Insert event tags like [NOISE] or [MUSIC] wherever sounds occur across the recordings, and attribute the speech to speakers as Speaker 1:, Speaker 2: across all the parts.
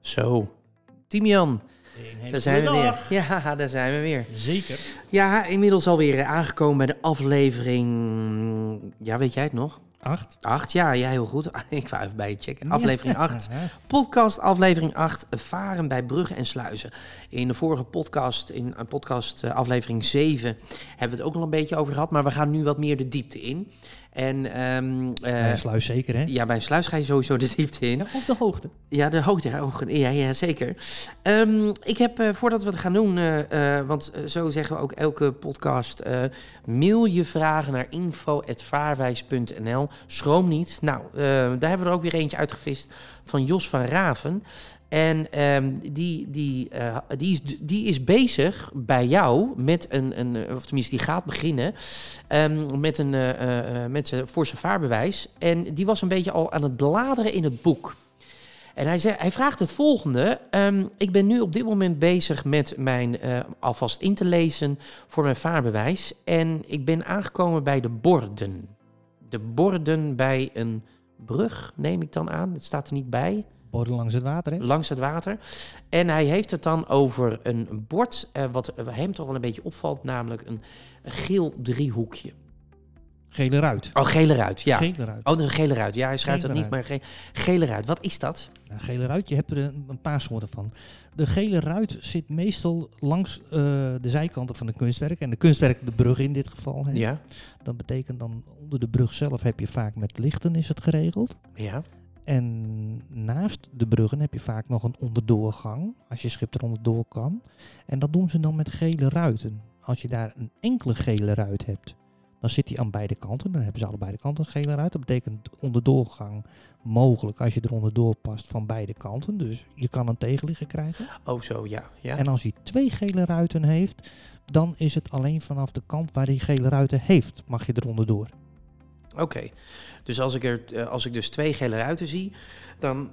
Speaker 1: Zo, Timian, daar zijn we weer. Ja, [LAUGHS] daar zijn we weer.
Speaker 2: Zeker.
Speaker 1: Ja, inmiddels alweer eh, aangekomen bij de aflevering. Ja, weet jij het nog?
Speaker 2: Acht.
Speaker 1: Acht, ja, ja, heel goed. [LAUGHS] Ik wou even bij je checken. Aflevering 8.
Speaker 2: [LAUGHS]
Speaker 1: Podcast, aflevering 8. Varen bij bruggen en sluizen. In de vorige podcast, in eh, podcast eh, aflevering 7, hebben we het ook al een beetje over gehad. Maar we gaan nu wat meer de diepte in. En ehm, eh,
Speaker 2: Ja, sluis zeker, hè?
Speaker 1: ja, bij een sluis ga je sowieso de diepte in.
Speaker 2: Of de hoogte.
Speaker 1: Ja, de hoogte. ja, hoogte. Ja, ja zeker. Ehm, ik heb, eh, voordat we het gaan doen, eh, eh, want eh, zo zeggen we ook elke podcast, eh, mail je vragen naar info.vaarwijs.nl. Schroom niet. Nou, eh, daar hebben we er ook weer eentje uitgevist van Jos van Raven. En ehm, die, die, eh, die, is, die is bezig bij jou met een, een eh, of tenminste, die gaat beginnen ehm, met een, eh, eh, eh, met zijn, voor zijn vaarbewijs. En die was een beetje al aan het bladeren in het boek. En hij, zei, hij vraagt het volgende. Ehm, ik ben nu op dit moment bezig met mijn eh, alvast in te lezen voor mijn vaarbewijs. En ik ben aangekomen bij de borden. De borden bij een brug, neem ik dan aan. Het staat er niet bij
Speaker 2: Borden langs het water, hè?
Speaker 1: langs het water. En hij heeft het dan over een bord, eh, wat hem toch wel een beetje opvalt, namelijk een geel driehoekje.
Speaker 2: Gele ruit.
Speaker 1: Oh, gele ruit, ja.
Speaker 2: Gele ruit.
Speaker 1: Oh, een gele ruit. Ja, hij schrijft
Speaker 2: Gele
Speaker 1: dat niet, maar ge- gele ruit. Wat is dat?
Speaker 2: Nou, gele ruit, je hebt er een, een paar soorten van. De gele ruit zit meestal langs eh, de zijkanten van een kunstwerk. En de kunstwerk de brug in dit geval. Hè.
Speaker 1: Ja,
Speaker 2: Dat betekent dan onder de brug zelf heb je vaak met lichten is het geregeld.
Speaker 1: ja.
Speaker 2: En naast de bruggen heb je vaak nog een onderdoorgang, als je schip eronder door kan. En dat doen ze dan met gele ruiten. Als je daar een enkele gele ruit hebt, dan zit die aan beide kanten. Dan hebben ze allebei de kanten een gele ruit. Dat betekent onderdoorgang mogelijk als je er onderdoor past van beide kanten. Dus je kan een tegenligger krijgen.
Speaker 1: Oh, zo, ja. ja.
Speaker 2: En als hij twee gele ruiten heeft, dan is het alleen vanaf de kant waar hij gele ruiten heeft, mag je er onderdoor.
Speaker 1: Oké. Dus als ik, er, eh, als ik dus twee gele ruiten zie, dan,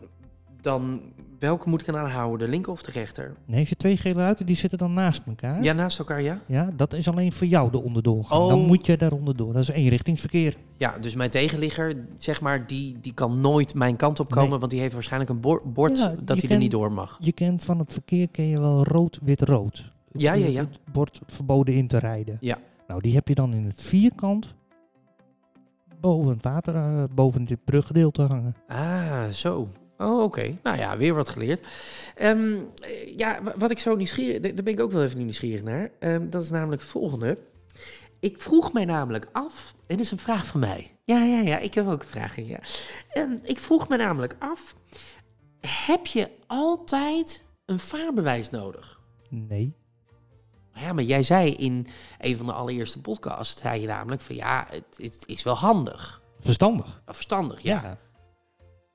Speaker 1: dan welke moet ik aan houden? De linker of de rechter?
Speaker 2: Nee, als je twee gele ruiten, die zitten dan naast elkaar.
Speaker 1: Ja, naast elkaar, ja?
Speaker 2: Ja, dat is alleen voor jou de onderdoorgang.
Speaker 1: Oh.
Speaker 2: Dan moet je daar onderdoor. Dat is eenrichtingsverkeer.
Speaker 1: Ja, dus mijn tegenligger, zeg maar, die, die kan nooit mijn kant op komen,
Speaker 2: Nee.
Speaker 1: want die heeft waarschijnlijk een bor- bord
Speaker 2: Ja,
Speaker 1: dat
Speaker 2: je
Speaker 1: hij er
Speaker 2: kan-
Speaker 1: niet door mag.
Speaker 2: Je kent van het verkeer ken je wel rood, wit, rood.
Speaker 1: Ja, ja, ja.
Speaker 2: Het bord verboden in te rijden.
Speaker 1: Ja.
Speaker 2: Nou, die heb je dan in het vierkant boven het water, eh, boven dit bruggedeelte hangen.
Speaker 1: Ah, zo. Oh, oké. Nou ja, weer wat geleerd. Ehm, eh, ja, wa- wat ik zo nieuwsgierig... da- Daar ben ik ook wel even nieuwsgierig naar. Ehm, dat is namelijk het volgende. Ik vroeg mij namelijk af... En dit is een vraag van mij. Ja, ja, ja. Ik heb ook vragen, ja. Ehm, ik vroeg mij namelijk af... Heb je altijd een vaarbewijs nodig?
Speaker 2: Nee.
Speaker 1: Ja, maar jij zei in een van de allereerste podcasts... zei je namelijk van ja, het, het is wel handig.
Speaker 2: Verstandig.
Speaker 1: Verstandig, ja.
Speaker 2: Ja.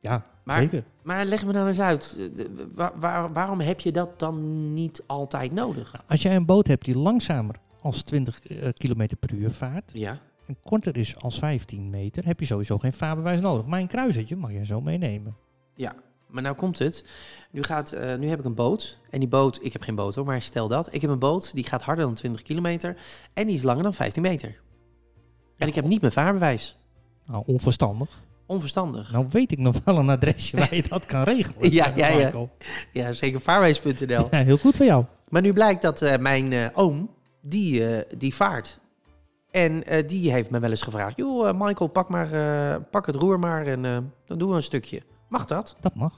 Speaker 2: Ja,
Speaker 1: Maar-
Speaker 2: zeker.
Speaker 1: Maar leg me nou eens uit, eh, de- wa- waar- waarom heb je dat dan niet altijd nodig?
Speaker 2: Nou, Als jij een boot hebt die langzamer als 20 km per uur vaart
Speaker 1: Ja.
Speaker 2: en korter is als 15 meter, heb je sowieso geen vaarbewijs nodig. Maar een kruisertje mag je zo meenemen.
Speaker 1: Ja, maar nou komt het. Nu, gaat, eh, nu heb ik een boot. En die boot, ik heb geen boot hoor, maar stel dat. Ik heb een boot, die gaat harder dan 20 kilometer. En die is langer dan 15 meter. En ik heb niet mijn vaarbewijs.
Speaker 2: Nou, onverstandig.
Speaker 1: Onverstandig.
Speaker 2: Nou weet ik nog wel een adresje waar
Speaker 1: [LAUGHS]
Speaker 2: je dat kan regelen.
Speaker 1: Ja, ja, ja.
Speaker 2: Michael.
Speaker 1: Ja, zeker vaarwijs.nl.
Speaker 2: Ja, heel goed voor jou.
Speaker 1: [LAUGHS] Maar nu blijkt dat eh, mijn eh, oom, die, eh, die vaart. En eh, die heeft me wel eens gevraagd... joh, eh, Michael, pak, maar, eh, pak het roer maar en eh, dan doen we een stukje. Mag dat?
Speaker 2: Dat mag.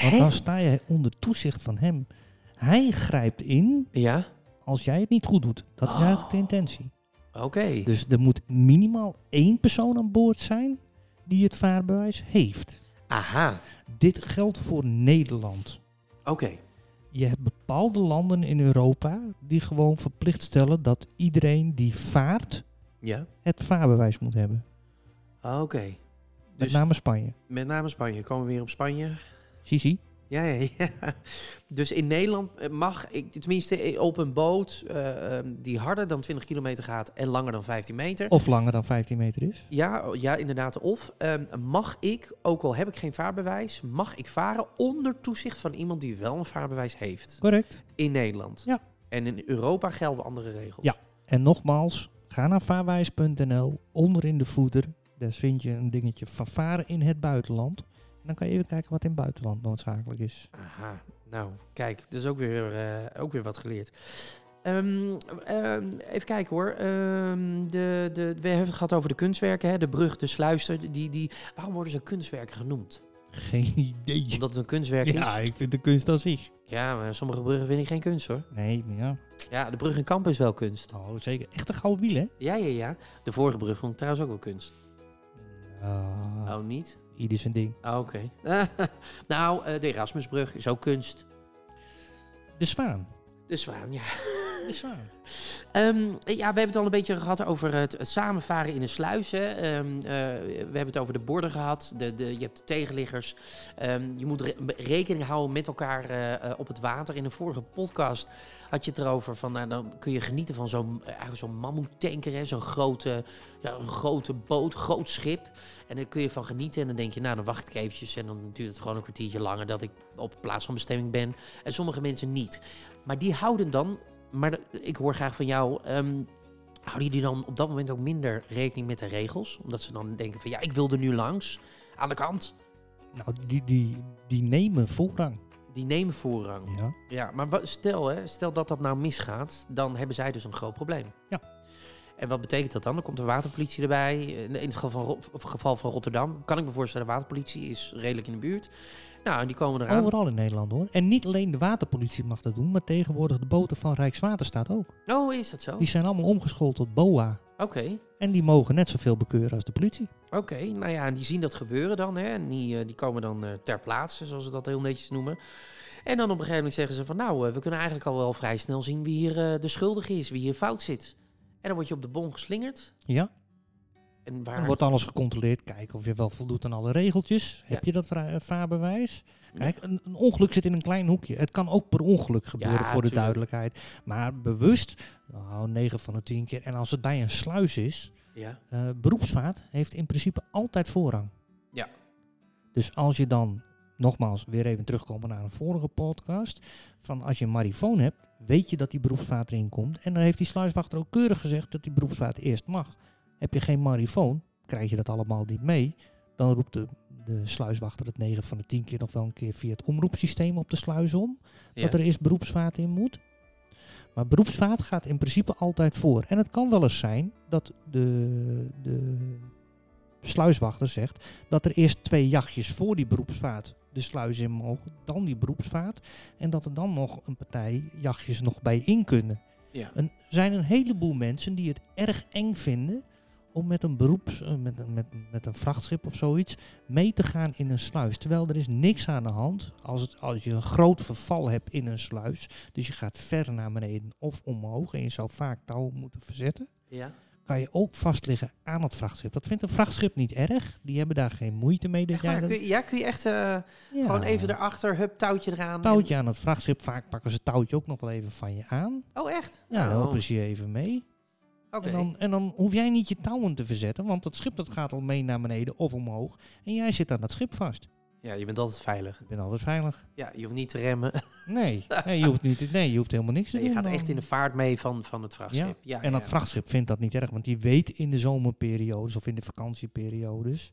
Speaker 2: Want dan sta je onder toezicht van hem. Hij grijpt in
Speaker 1: Ja,
Speaker 2: als jij het niet goed doet. Dat is eigenlijk
Speaker 1: Oh.
Speaker 2: de intentie.
Speaker 1: oké.
Speaker 2: Dus er moet minimaal één persoon aan boord zijn die het vaarbewijs heeft.
Speaker 1: Aha,
Speaker 2: Dit geldt voor Nederland.
Speaker 1: oké.
Speaker 2: Je hebt bepaalde landen in Europa die gewoon verplicht stellen dat iedereen die vaart
Speaker 1: Ja,
Speaker 2: het vaarbewijs moet hebben.
Speaker 1: oké.
Speaker 2: Met
Speaker 1: Dus-
Speaker 2: name Spanje.
Speaker 1: Met name Spanje. Komen we weer op Spanje?
Speaker 2: Sisi.
Speaker 1: Ja, ja, ja. Dus in Nederland eh, mag, ik, tenminste eh, op een boot eh, eh, die harder dan 20 kilometer gaat en langer dan 15 meter.
Speaker 2: Of langer dan 15 meter is.
Speaker 1: Ja, oh, ja, inderdaad. Of ehm, mag ik, ook al heb ik geen vaarbewijs, mag ik varen onder toezicht van iemand die wel een vaarbewijs heeft
Speaker 2: Correct.
Speaker 1: in Nederland?
Speaker 2: Ja.
Speaker 1: En in Europa gelden andere regels.
Speaker 2: Ja. En nogmaals, ga naar vaarwijs.nl. Onder in de voeder, daar vind je een dingetje van varen in het buitenland. En dan kan je even kijken wat in het buitenland noodzakelijk is.
Speaker 1: Aha. Nou, kijk, dus ook weer, eh, ook weer wat geleerd. Ehm, ehm, even kijken hoor. Ehm, de, de, we hebben het gehad over de kunstwerken, hè? de brug, de sluister. Die, die, waarom worden ze kunstwerken genoemd?
Speaker 2: Geen idee.
Speaker 1: Omdat het een kunstwerk
Speaker 2: Ja,
Speaker 1: is?
Speaker 2: ik vind de kunst als zich.
Speaker 1: Ja, maar sommige bruggen vind ik geen kunst hoor.
Speaker 2: Nee, maar ja.
Speaker 1: Ja, de brug in Kamp is wel kunst.
Speaker 2: Oh, zeker. Echt een gouden wiel, hè?
Speaker 1: Ja, ja, ja. De vorige brug vond ik trouwens ook wel kunst.
Speaker 2: Ah,
Speaker 1: Oh, niet?
Speaker 2: Ieder zijn ding.
Speaker 1: Oh, Oké. [LAUGHS] nou, eh, de Erasmusbrug is ook kunst.
Speaker 2: De zwaan.
Speaker 1: De zwaan, ja.
Speaker 2: De zwaan.
Speaker 1: Ehm, ja, we hebben het al een beetje gehad over het, het samenvaren in een sluis. Hè. Ehm, eh, we hebben het over de borden gehad. De, de, je hebt de tegenliggers. Ehm, je moet re- rekening houden met elkaar eh, eh, op het water. In een vorige podcast had je het erover van... Nou, dan kun je genieten van zo'n eh, eigenlijk zo'n mammoetanker. hè, Zo'n grote, ja, een grote boot, groot schip. En daar kun je van genieten. En dan denk je, nou, dan wacht ik eventjes. En dan duurt het gewoon een kwartiertje langer dat ik op plaats van bestemming ben. En sommige mensen niet. Maar die houden dan maar de- ik hoor graag van jou. ehm, houden jullie dan op dat moment ook minder rekening met de regels? Omdat ze dan denken van ja, ik wil er nu langs. Aan de kant.
Speaker 2: Nou, die, die, die nemen voorrang.
Speaker 1: Die nemen voorrang. Ja,
Speaker 2: Ja.
Speaker 1: maar wa- stel, hè, stel dat dat nou misgaat, dan hebben zij dus een groot probleem.
Speaker 2: Ja.
Speaker 1: En wat betekent dat dan? Dan komt de waterpolitie erbij. In in het geval van, Ro- of geval van Rotterdam kan ik me voorstellen, de waterpolitie is redelijk in de buurt. Nou, en die komen eraan.
Speaker 2: Overal in Nederland hoor. En niet alleen de waterpolitie mag dat doen, maar tegenwoordig de boten van Rijkswaterstaat ook.
Speaker 1: Oh, is dat zo?
Speaker 2: Die zijn allemaal omgeschoold tot BOA.
Speaker 1: Oké.
Speaker 2: En die mogen net zoveel bekeuren als de politie.
Speaker 1: Oké, nou ja, en die zien dat gebeuren dan. Hè? En die, eh, die komen dan eh, ter plaatse, zoals ze dat heel netjes noemen. En dan op een gegeven moment zeggen ze van... nou, eh, we kunnen eigenlijk al wel vrij snel zien wie hier eh, de schuldige is, wie hier fout zit. En dan word je op de bon geslingerd.
Speaker 2: Ja,
Speaker 1: En
Speaker 2: dan
Speaker 1: waar...
Speaker 2: wordt alles gecontroleerd. Kijken of je wel voldoet aan alle regeltjes. Heb
Speaker 1: Ja.
Speaker 2: je dat vra- eh, vaarbewijs? Kijk, een, een ongeluk zit in een klein hoekje. Het kan ook per ongeluk gebeuren
Speaker 1: Ja,
Speaker 2: voor de
Speaker 1: tuurlijk.
Speaker 2: duidelijkheid. Maar bewust, nou, 9 van de 10 keer. En als het bij een sluis is,
Speaker 1: Ja.
Speaker 2: eh, beroepsvaart heeft in principe altijd voorrang.
Speaker 1: Ja.
Speaker 2: Dus als je dan, nogmaals, weer even terugkomen naar een vorige podcast. Van als je een marifoon hebt, weet je dat die beroepsvaart erin komt. En dan heeft die sluiswachter ook keurig gezegd dat die beroepsvaart eerst mag. Heb je geen marifoon, krijg je dat allemaal niet mee. Dan roept de, de sluiswachter het 9 van de 10 keer nog wel een keer via het omroepsysteem op de sluis om.
Speaker 1: Ja.
Speaker 2: Dat er eerst beroepsvaart in moet. Maar beroepsvaart gaat in principe altijd voor. En het kan wel eens zijn dat de, de sluiswachter zegt dat er eerst twee jachtjes voor die beroepsvaart de sluis in mogen, dan die beroepsvaart. En dat er dan nog een partij jachtjes nog bij in kunnen.
Speaker 1: Ja.
Speaker 2: Er zijn een heleboel mensen die het erg eng vinden om met een beroeps, eh, met, een- met, met een vrachtschip of zoiets mee te gaan in een sluis. Terwijl er is niks aan de hand als, het, als je een groot verval hebt in een sluis. Dus je gaat ver naar beneden of omhoog en je zou vaak touw moeten verzetten.
Speaker 1: ja.
Speaker 2: Kan je ook vastliggen aan het vrachtschip. Dat vindt een vrachtschip niet erg. Die hebben daar geen moeite mee. Dat
Speaker 1: Echt waar,
Speaker 2: jij dat,
Speaker 1: kun je, ja, kun je echt eh,
Speaker 2: Ja.
Speaker 1: gewoon even erachter, hup, touwtje eraan. en-
Speaker 2: Touwtje aan het vrachtschip. Vaak pakken ze het touwtje ook nog wel even van je aan.
Speaker 1: Oh, echt?
Speaker 2: Ja,
Speaker 1: Oh,
Speaker 2: helpen ze je even mee.
Speaker 1: Oké.
Speaker 2: En, dan, en dan hoef jij niet je touwen te verzetten. Want dat schip dat gaat al mee naar beneden of omhoog. En jij zit aan dat schip vast.
Speaker 1: Ja, je bent altijd veilig.
Speaker 2: Je bent altijd veilig.
Speaker 1: Ja, je hoeft niet te remmen. [LAUGHS]
Speaker 2: Nee, nee, je, hoeft niet, te- nee je hoeft helemaal niks te
Speaker 1: Je
Speaker 2: doen.
Speaker 1: gaat
Speaker 2: dan.
Speaker 1: echt in de vaart mee van, van het vrachtschip. Ja,
Speaker 2: En dat
Speaker 1: ja.
Speaker 2: vrachtschip vindt dat niet erg, want die weet in de zomerperiodes of in de vakantieperiodes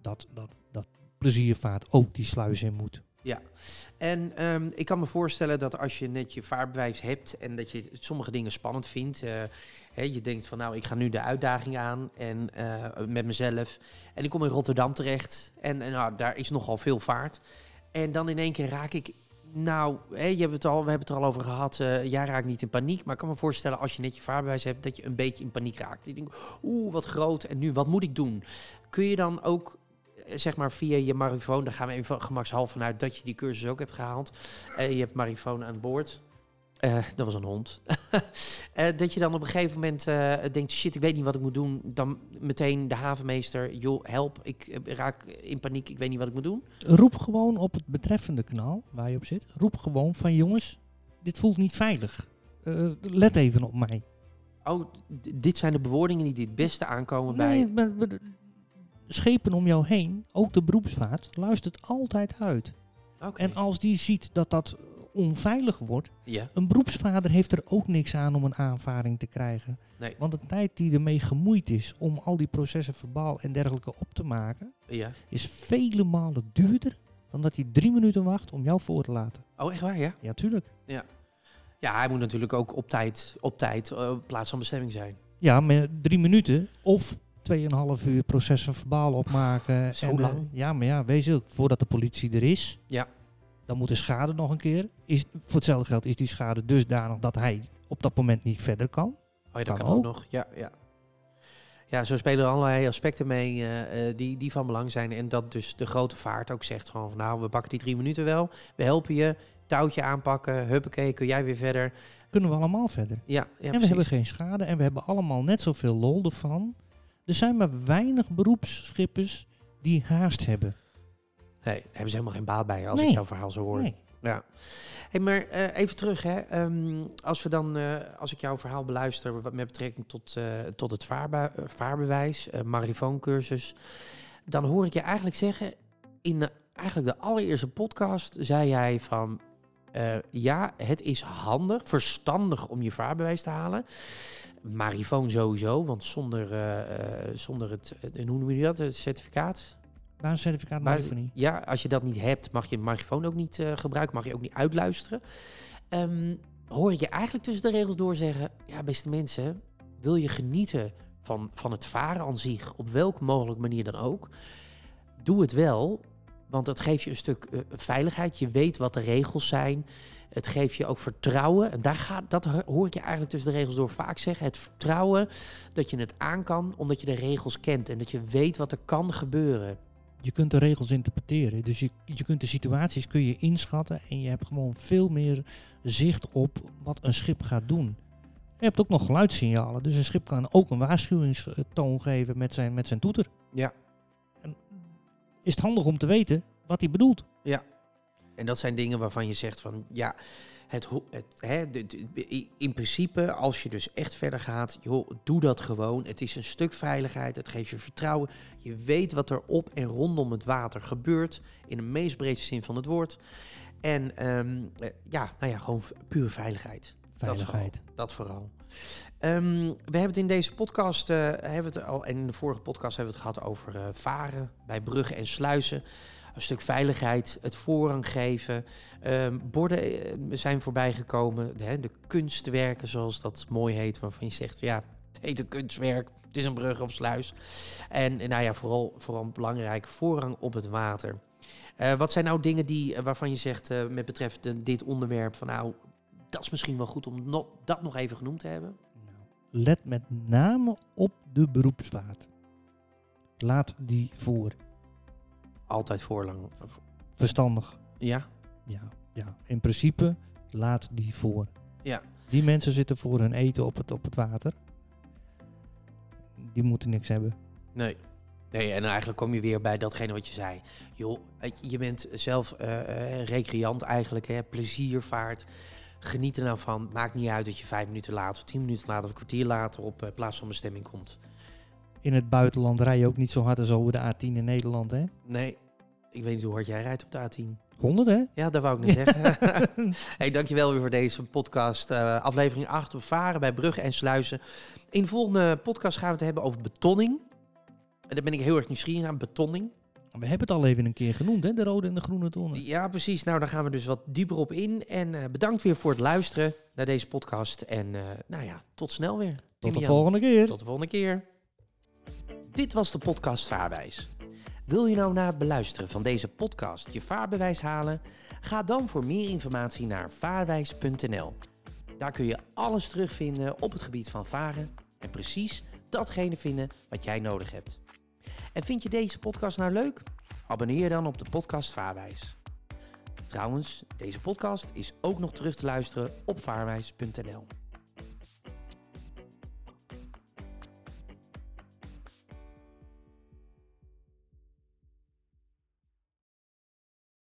Speaker 2: dat, dat, dat pleziervaart ook die sluis in moet.
Speaker 1: Ja, en ehm, ik kan me voorstellen dat als je net je vaarbewijs hebt en dat je sommige dingen spannend vindt. eh, hè, je denkt van nou, ik ga nu de uitdaging aan en eh, met mezelf. En ik kom in Rotterdam terecht en, en nou, daar is nogal veel vaart. En dan in één keer raak ik, nou, hè, je hebt het al, we hebben het er al over gehad. eh, jij raakt niet in paniek, maar ik kan me voorstellen als je net je vaarbewijs hebt dat je een beetje in paniek raakt. Je denkt, oeh, wat groot en nu, wat moet ik doen? Kun je dan ook eh, zeg maar via je marifoon, daar gaan we even gemakshalve vanuit dat je die cursus ook hebt gehaald. Eh, je hebt marifoon aan boord. Eh, eh, dat was een hond. [LAUGHS] Eh, dat je dan op een gegeven moment eh, denkt: shit, ik weet niet wat ik moet doen. Dan meteen de havenmeester: joh, help, ik eh, raak in paniek, ik weet niet wat ik moet doen.
Speaker 2: Roep gewoon op het betreffende kanaal waar je op zit. Roep gewoon van jongens, dit voelt niet veilig. Eh, let even op mij.
Speaker 1: Oh, d- dit zijn de bewoordingen die het beste aankomen bij.
Speaker 2: Nee, maar, maar de schepen om jou heen, ook de beroepsvaart, luistert altijd uit.
Speaker 1: Oké.
Speaker 2: En als die ziet dat dat onveilig wordt,
Speaker 1: Ja,
Speaker 2: een beroepsvader heeft er ook niks aan om een aanvaring te krijgen.
Speaker 1: Nee.
Speaker 2: Want de tijd die ermee gemoeid is om al die processen verbaal en dergelijke op te maken,
Speaker 1: ja.
Speaker 2: is vele malen duurder dan dat hij drie minuten wacht om jou voor te laten.
Speaker 1: Oh, echt waar, ja?
Speaker 2: Ja, tuurlijk.
Speaker 1: Ja, hij moet natuurlijk ook op tijd, op tijd eh, plaats van bestemming zijn.
Speaker 2: Ja, maar drie minuten of 2,5 uur processen verbaal opmaken.
Speaker 1: [LAUGHS] Zo
Speaker 2: eh,
Speaker 1: lang?
Speaker 2: ja, maar ja, wees ook, voordat de politie er is.
Speaker 1: Ja.
Speaker 2: Dan moet de schade nog een keer. Is, voor hetzelfde geld is die schade dusdanig dat hij op dat moment niet verder kan.
Speaker 1: Oh ja, dat
Speaker 2: Kan
Speaker 1: kan ook
Speaker 2: ook.
Speaker 1: nog. Ja, ja. ja, zo spelen er allerlei aspecten mee eh, eh, die, die van belang zijn. En dat dus de grote vaart ook zegt gewoon van nou, we pakken die drie minuten wel. We helpen je, touwtje aanpakken, huppakee, kun jij weer verder.
Speaker 2: Kunnen we allemaal verder.
Speaker 1: Ja, ja
Speaker 2: en we
Speaker 1: precies.
Speaker 2: hebben geen schade en we hebben allemaal net zoveel lol ervan. Er zijn maar weinig beroepsschippers die haast hebben.
Speaker 1: Nee, daar hebben ze helemaal geen baat bij als ik
Speaker 2: Nee.
Speaker 1: jouw verhaal zo hoor.
Speaker 2: Nee.
Speaker 1: Ja. Hey, maar eh, even terug, hè. Ehm, als, we dan, eh, als ik jouw verhaal beluister wat met betrekking tot, eh, tot het vaarbe- eh, vaarbewijs, eh marifooncursus, dan hoor ik je eigenlijk zeggen, in de- eigenlijk de allereerste podcast zei jij van, eh, ja, het is handig, verstandig om je vaarbewijs te halen. Marifoon sowieso, want zonder, eh, eh, zonder het, eh, hoe noem je dat, het certificaat?
Speaker 2: Baancertificaat
Speaker 1: Maar-
Speaker 2: maar even niet.
Speaker 1: Ja, als je dat niet hebt, mag je een microfoon ook niet eh, gebruiken, mag je ook niet uitluisteren. Ehm, hoor ik je eigenlijk tussen de regels door zeggen: Ja, beste mensen, wil je genieten van, van het varen aan zich, op welke mogelijke manier dan ook? Doe het wel, want het geeft je een stuk eh, veiligheid. Je weet wat de regels zijn. Het geeft je ook vertrouwen. En daar gaat, dat ho- hoor ik je eigenlijk tussen de regels door vaak zeggen. Het vertrouwen dat je het aan kan, omdat je de regels kent en dat je weet wat er kan gebeuren.
Speaker 2: Je kunt de regels interpreteren. Dus je, je kunt de situaties kun je inschatten. En je hebt gewoon veel meer zicht op wat een schip gaat doen. Je hebt ook nog geluidssignalen. Dus een schip kan ook een waarschuwingstoon geven met zijn, met zijn toeter.
Speaker 1: Ja.
Speaker 2: En is het handig om te weten wat hij bedoelt?
Speaker 1: En dat zijn dingen waarvan je zegt van ja, het, ho- het, hè, de- de- i- in principe als je dus echt verder gaat, joh, doe dat gewoon. Het is een stuk veiligheid, het geeft je vertrouwen. Je weet wat er op en rondom het water gebeurt, in de meest breedste zin van het woord. En ehm, eh, ja, nou ja, gewoon v- puur veiligheid.
Speaker 2: Veiligheid.
Speaker 1: Dat vooral. Ehm, we hebben het in deze podcast eh, hebben we het al, en in de vorige podcast hebben we het gehad over eh, varen bij bruggen en sluizen. Een stuk veiligheid, het voorrang geven. Ehm, borden eh, zijn voorbijgekomen. De, hè, de kunstwerken, zoals dat mooi heet, waarvan je zegt, ja, het heet een kunstwerk. Het is een brug of sluis. En eh, nou ja, vooral, vooral belangrijk, voorrang op het water. Eh, wat zijn nou dingen die, eh, waarvan je zegt eh, met betreft eh, dit onderwerp, van nou, dat is misschien wel goed om no- dat nog even genoemd te hebben.
Speaker 2: Nou, let met name op de beroepsvaart. Laat die voor.
Speaker 1: Altijd voorlang.
Speaker 2: Verstandig.
Speaker 1: Ja?
Speaker 2: Ja, ja. In principe, laat die voor.
Speaker 1: Ja.
Speaker 2: Die mensen zitten voor hun eten op het, op het water. Die moeten niks hebben.
Speaker 1: Nee. Nee, en eigenlijk kom je weer bij datgene wat je zei. Joh, het- je bent zelf eh, eh, recreant eigenlijk, hè? pleziervaart. Geniet er nou van. Maakt niet uit dat je vijf minuten later, of tien minuten later of een kwartier later op eh, plaats van bestemming komt.
Speaker 2: In het buitenland rij je ook niet zo hard als over de A10 in Nederland, hè?
Speaker 1: Nee, ik weet niet hoe hard jij rijdt op de A10.
Speaker 2: 100, hè?
Speaker 1: Ja, dat
Speaker 2: [LAUGHS]
Speaker 1: wou ik net zeggen. [LAUGHS] hey, dankjewel weer voor deze podcast. eh, aflevering 8 op varen bij bruggen en sluizen. In de volgende podcast gaan we het hebben over betonning. En daar ben ik heel erg nieuwsgierig naar, betonning.
Speaker 2: We hebben het al even een keer genoemd, hè? De rode en de groene tonnen.
Speaker 1: Ja, precies. Nou, daar gaan we dus wat dieper op in. En eh, bedankt weer voor het luisteren naar deze podcast. En eh, nou ja, tot snel weer.
Speaker 2: Tot de
Speaker 1: Timian.
Speaker 2: volgende keer.
Speaker 1: Tot de volgende keer. Dit was de podcast Vaarwijs. Wil je nou na het beluisteren van deze podcast je vaarbewijs halen? Ga dan voor meer informatie naar vaarwijs.nl. Daar kun je alles terugvinden op het gebied van varen en precies datgene vinden wat jij nodig hebt. En vind je deze podcast nou leuk? Abonneer je dan op de podcast Vaarwijs. Trouwens, deze podcast is ook nog terug te luisteren op vaarwijs.nl.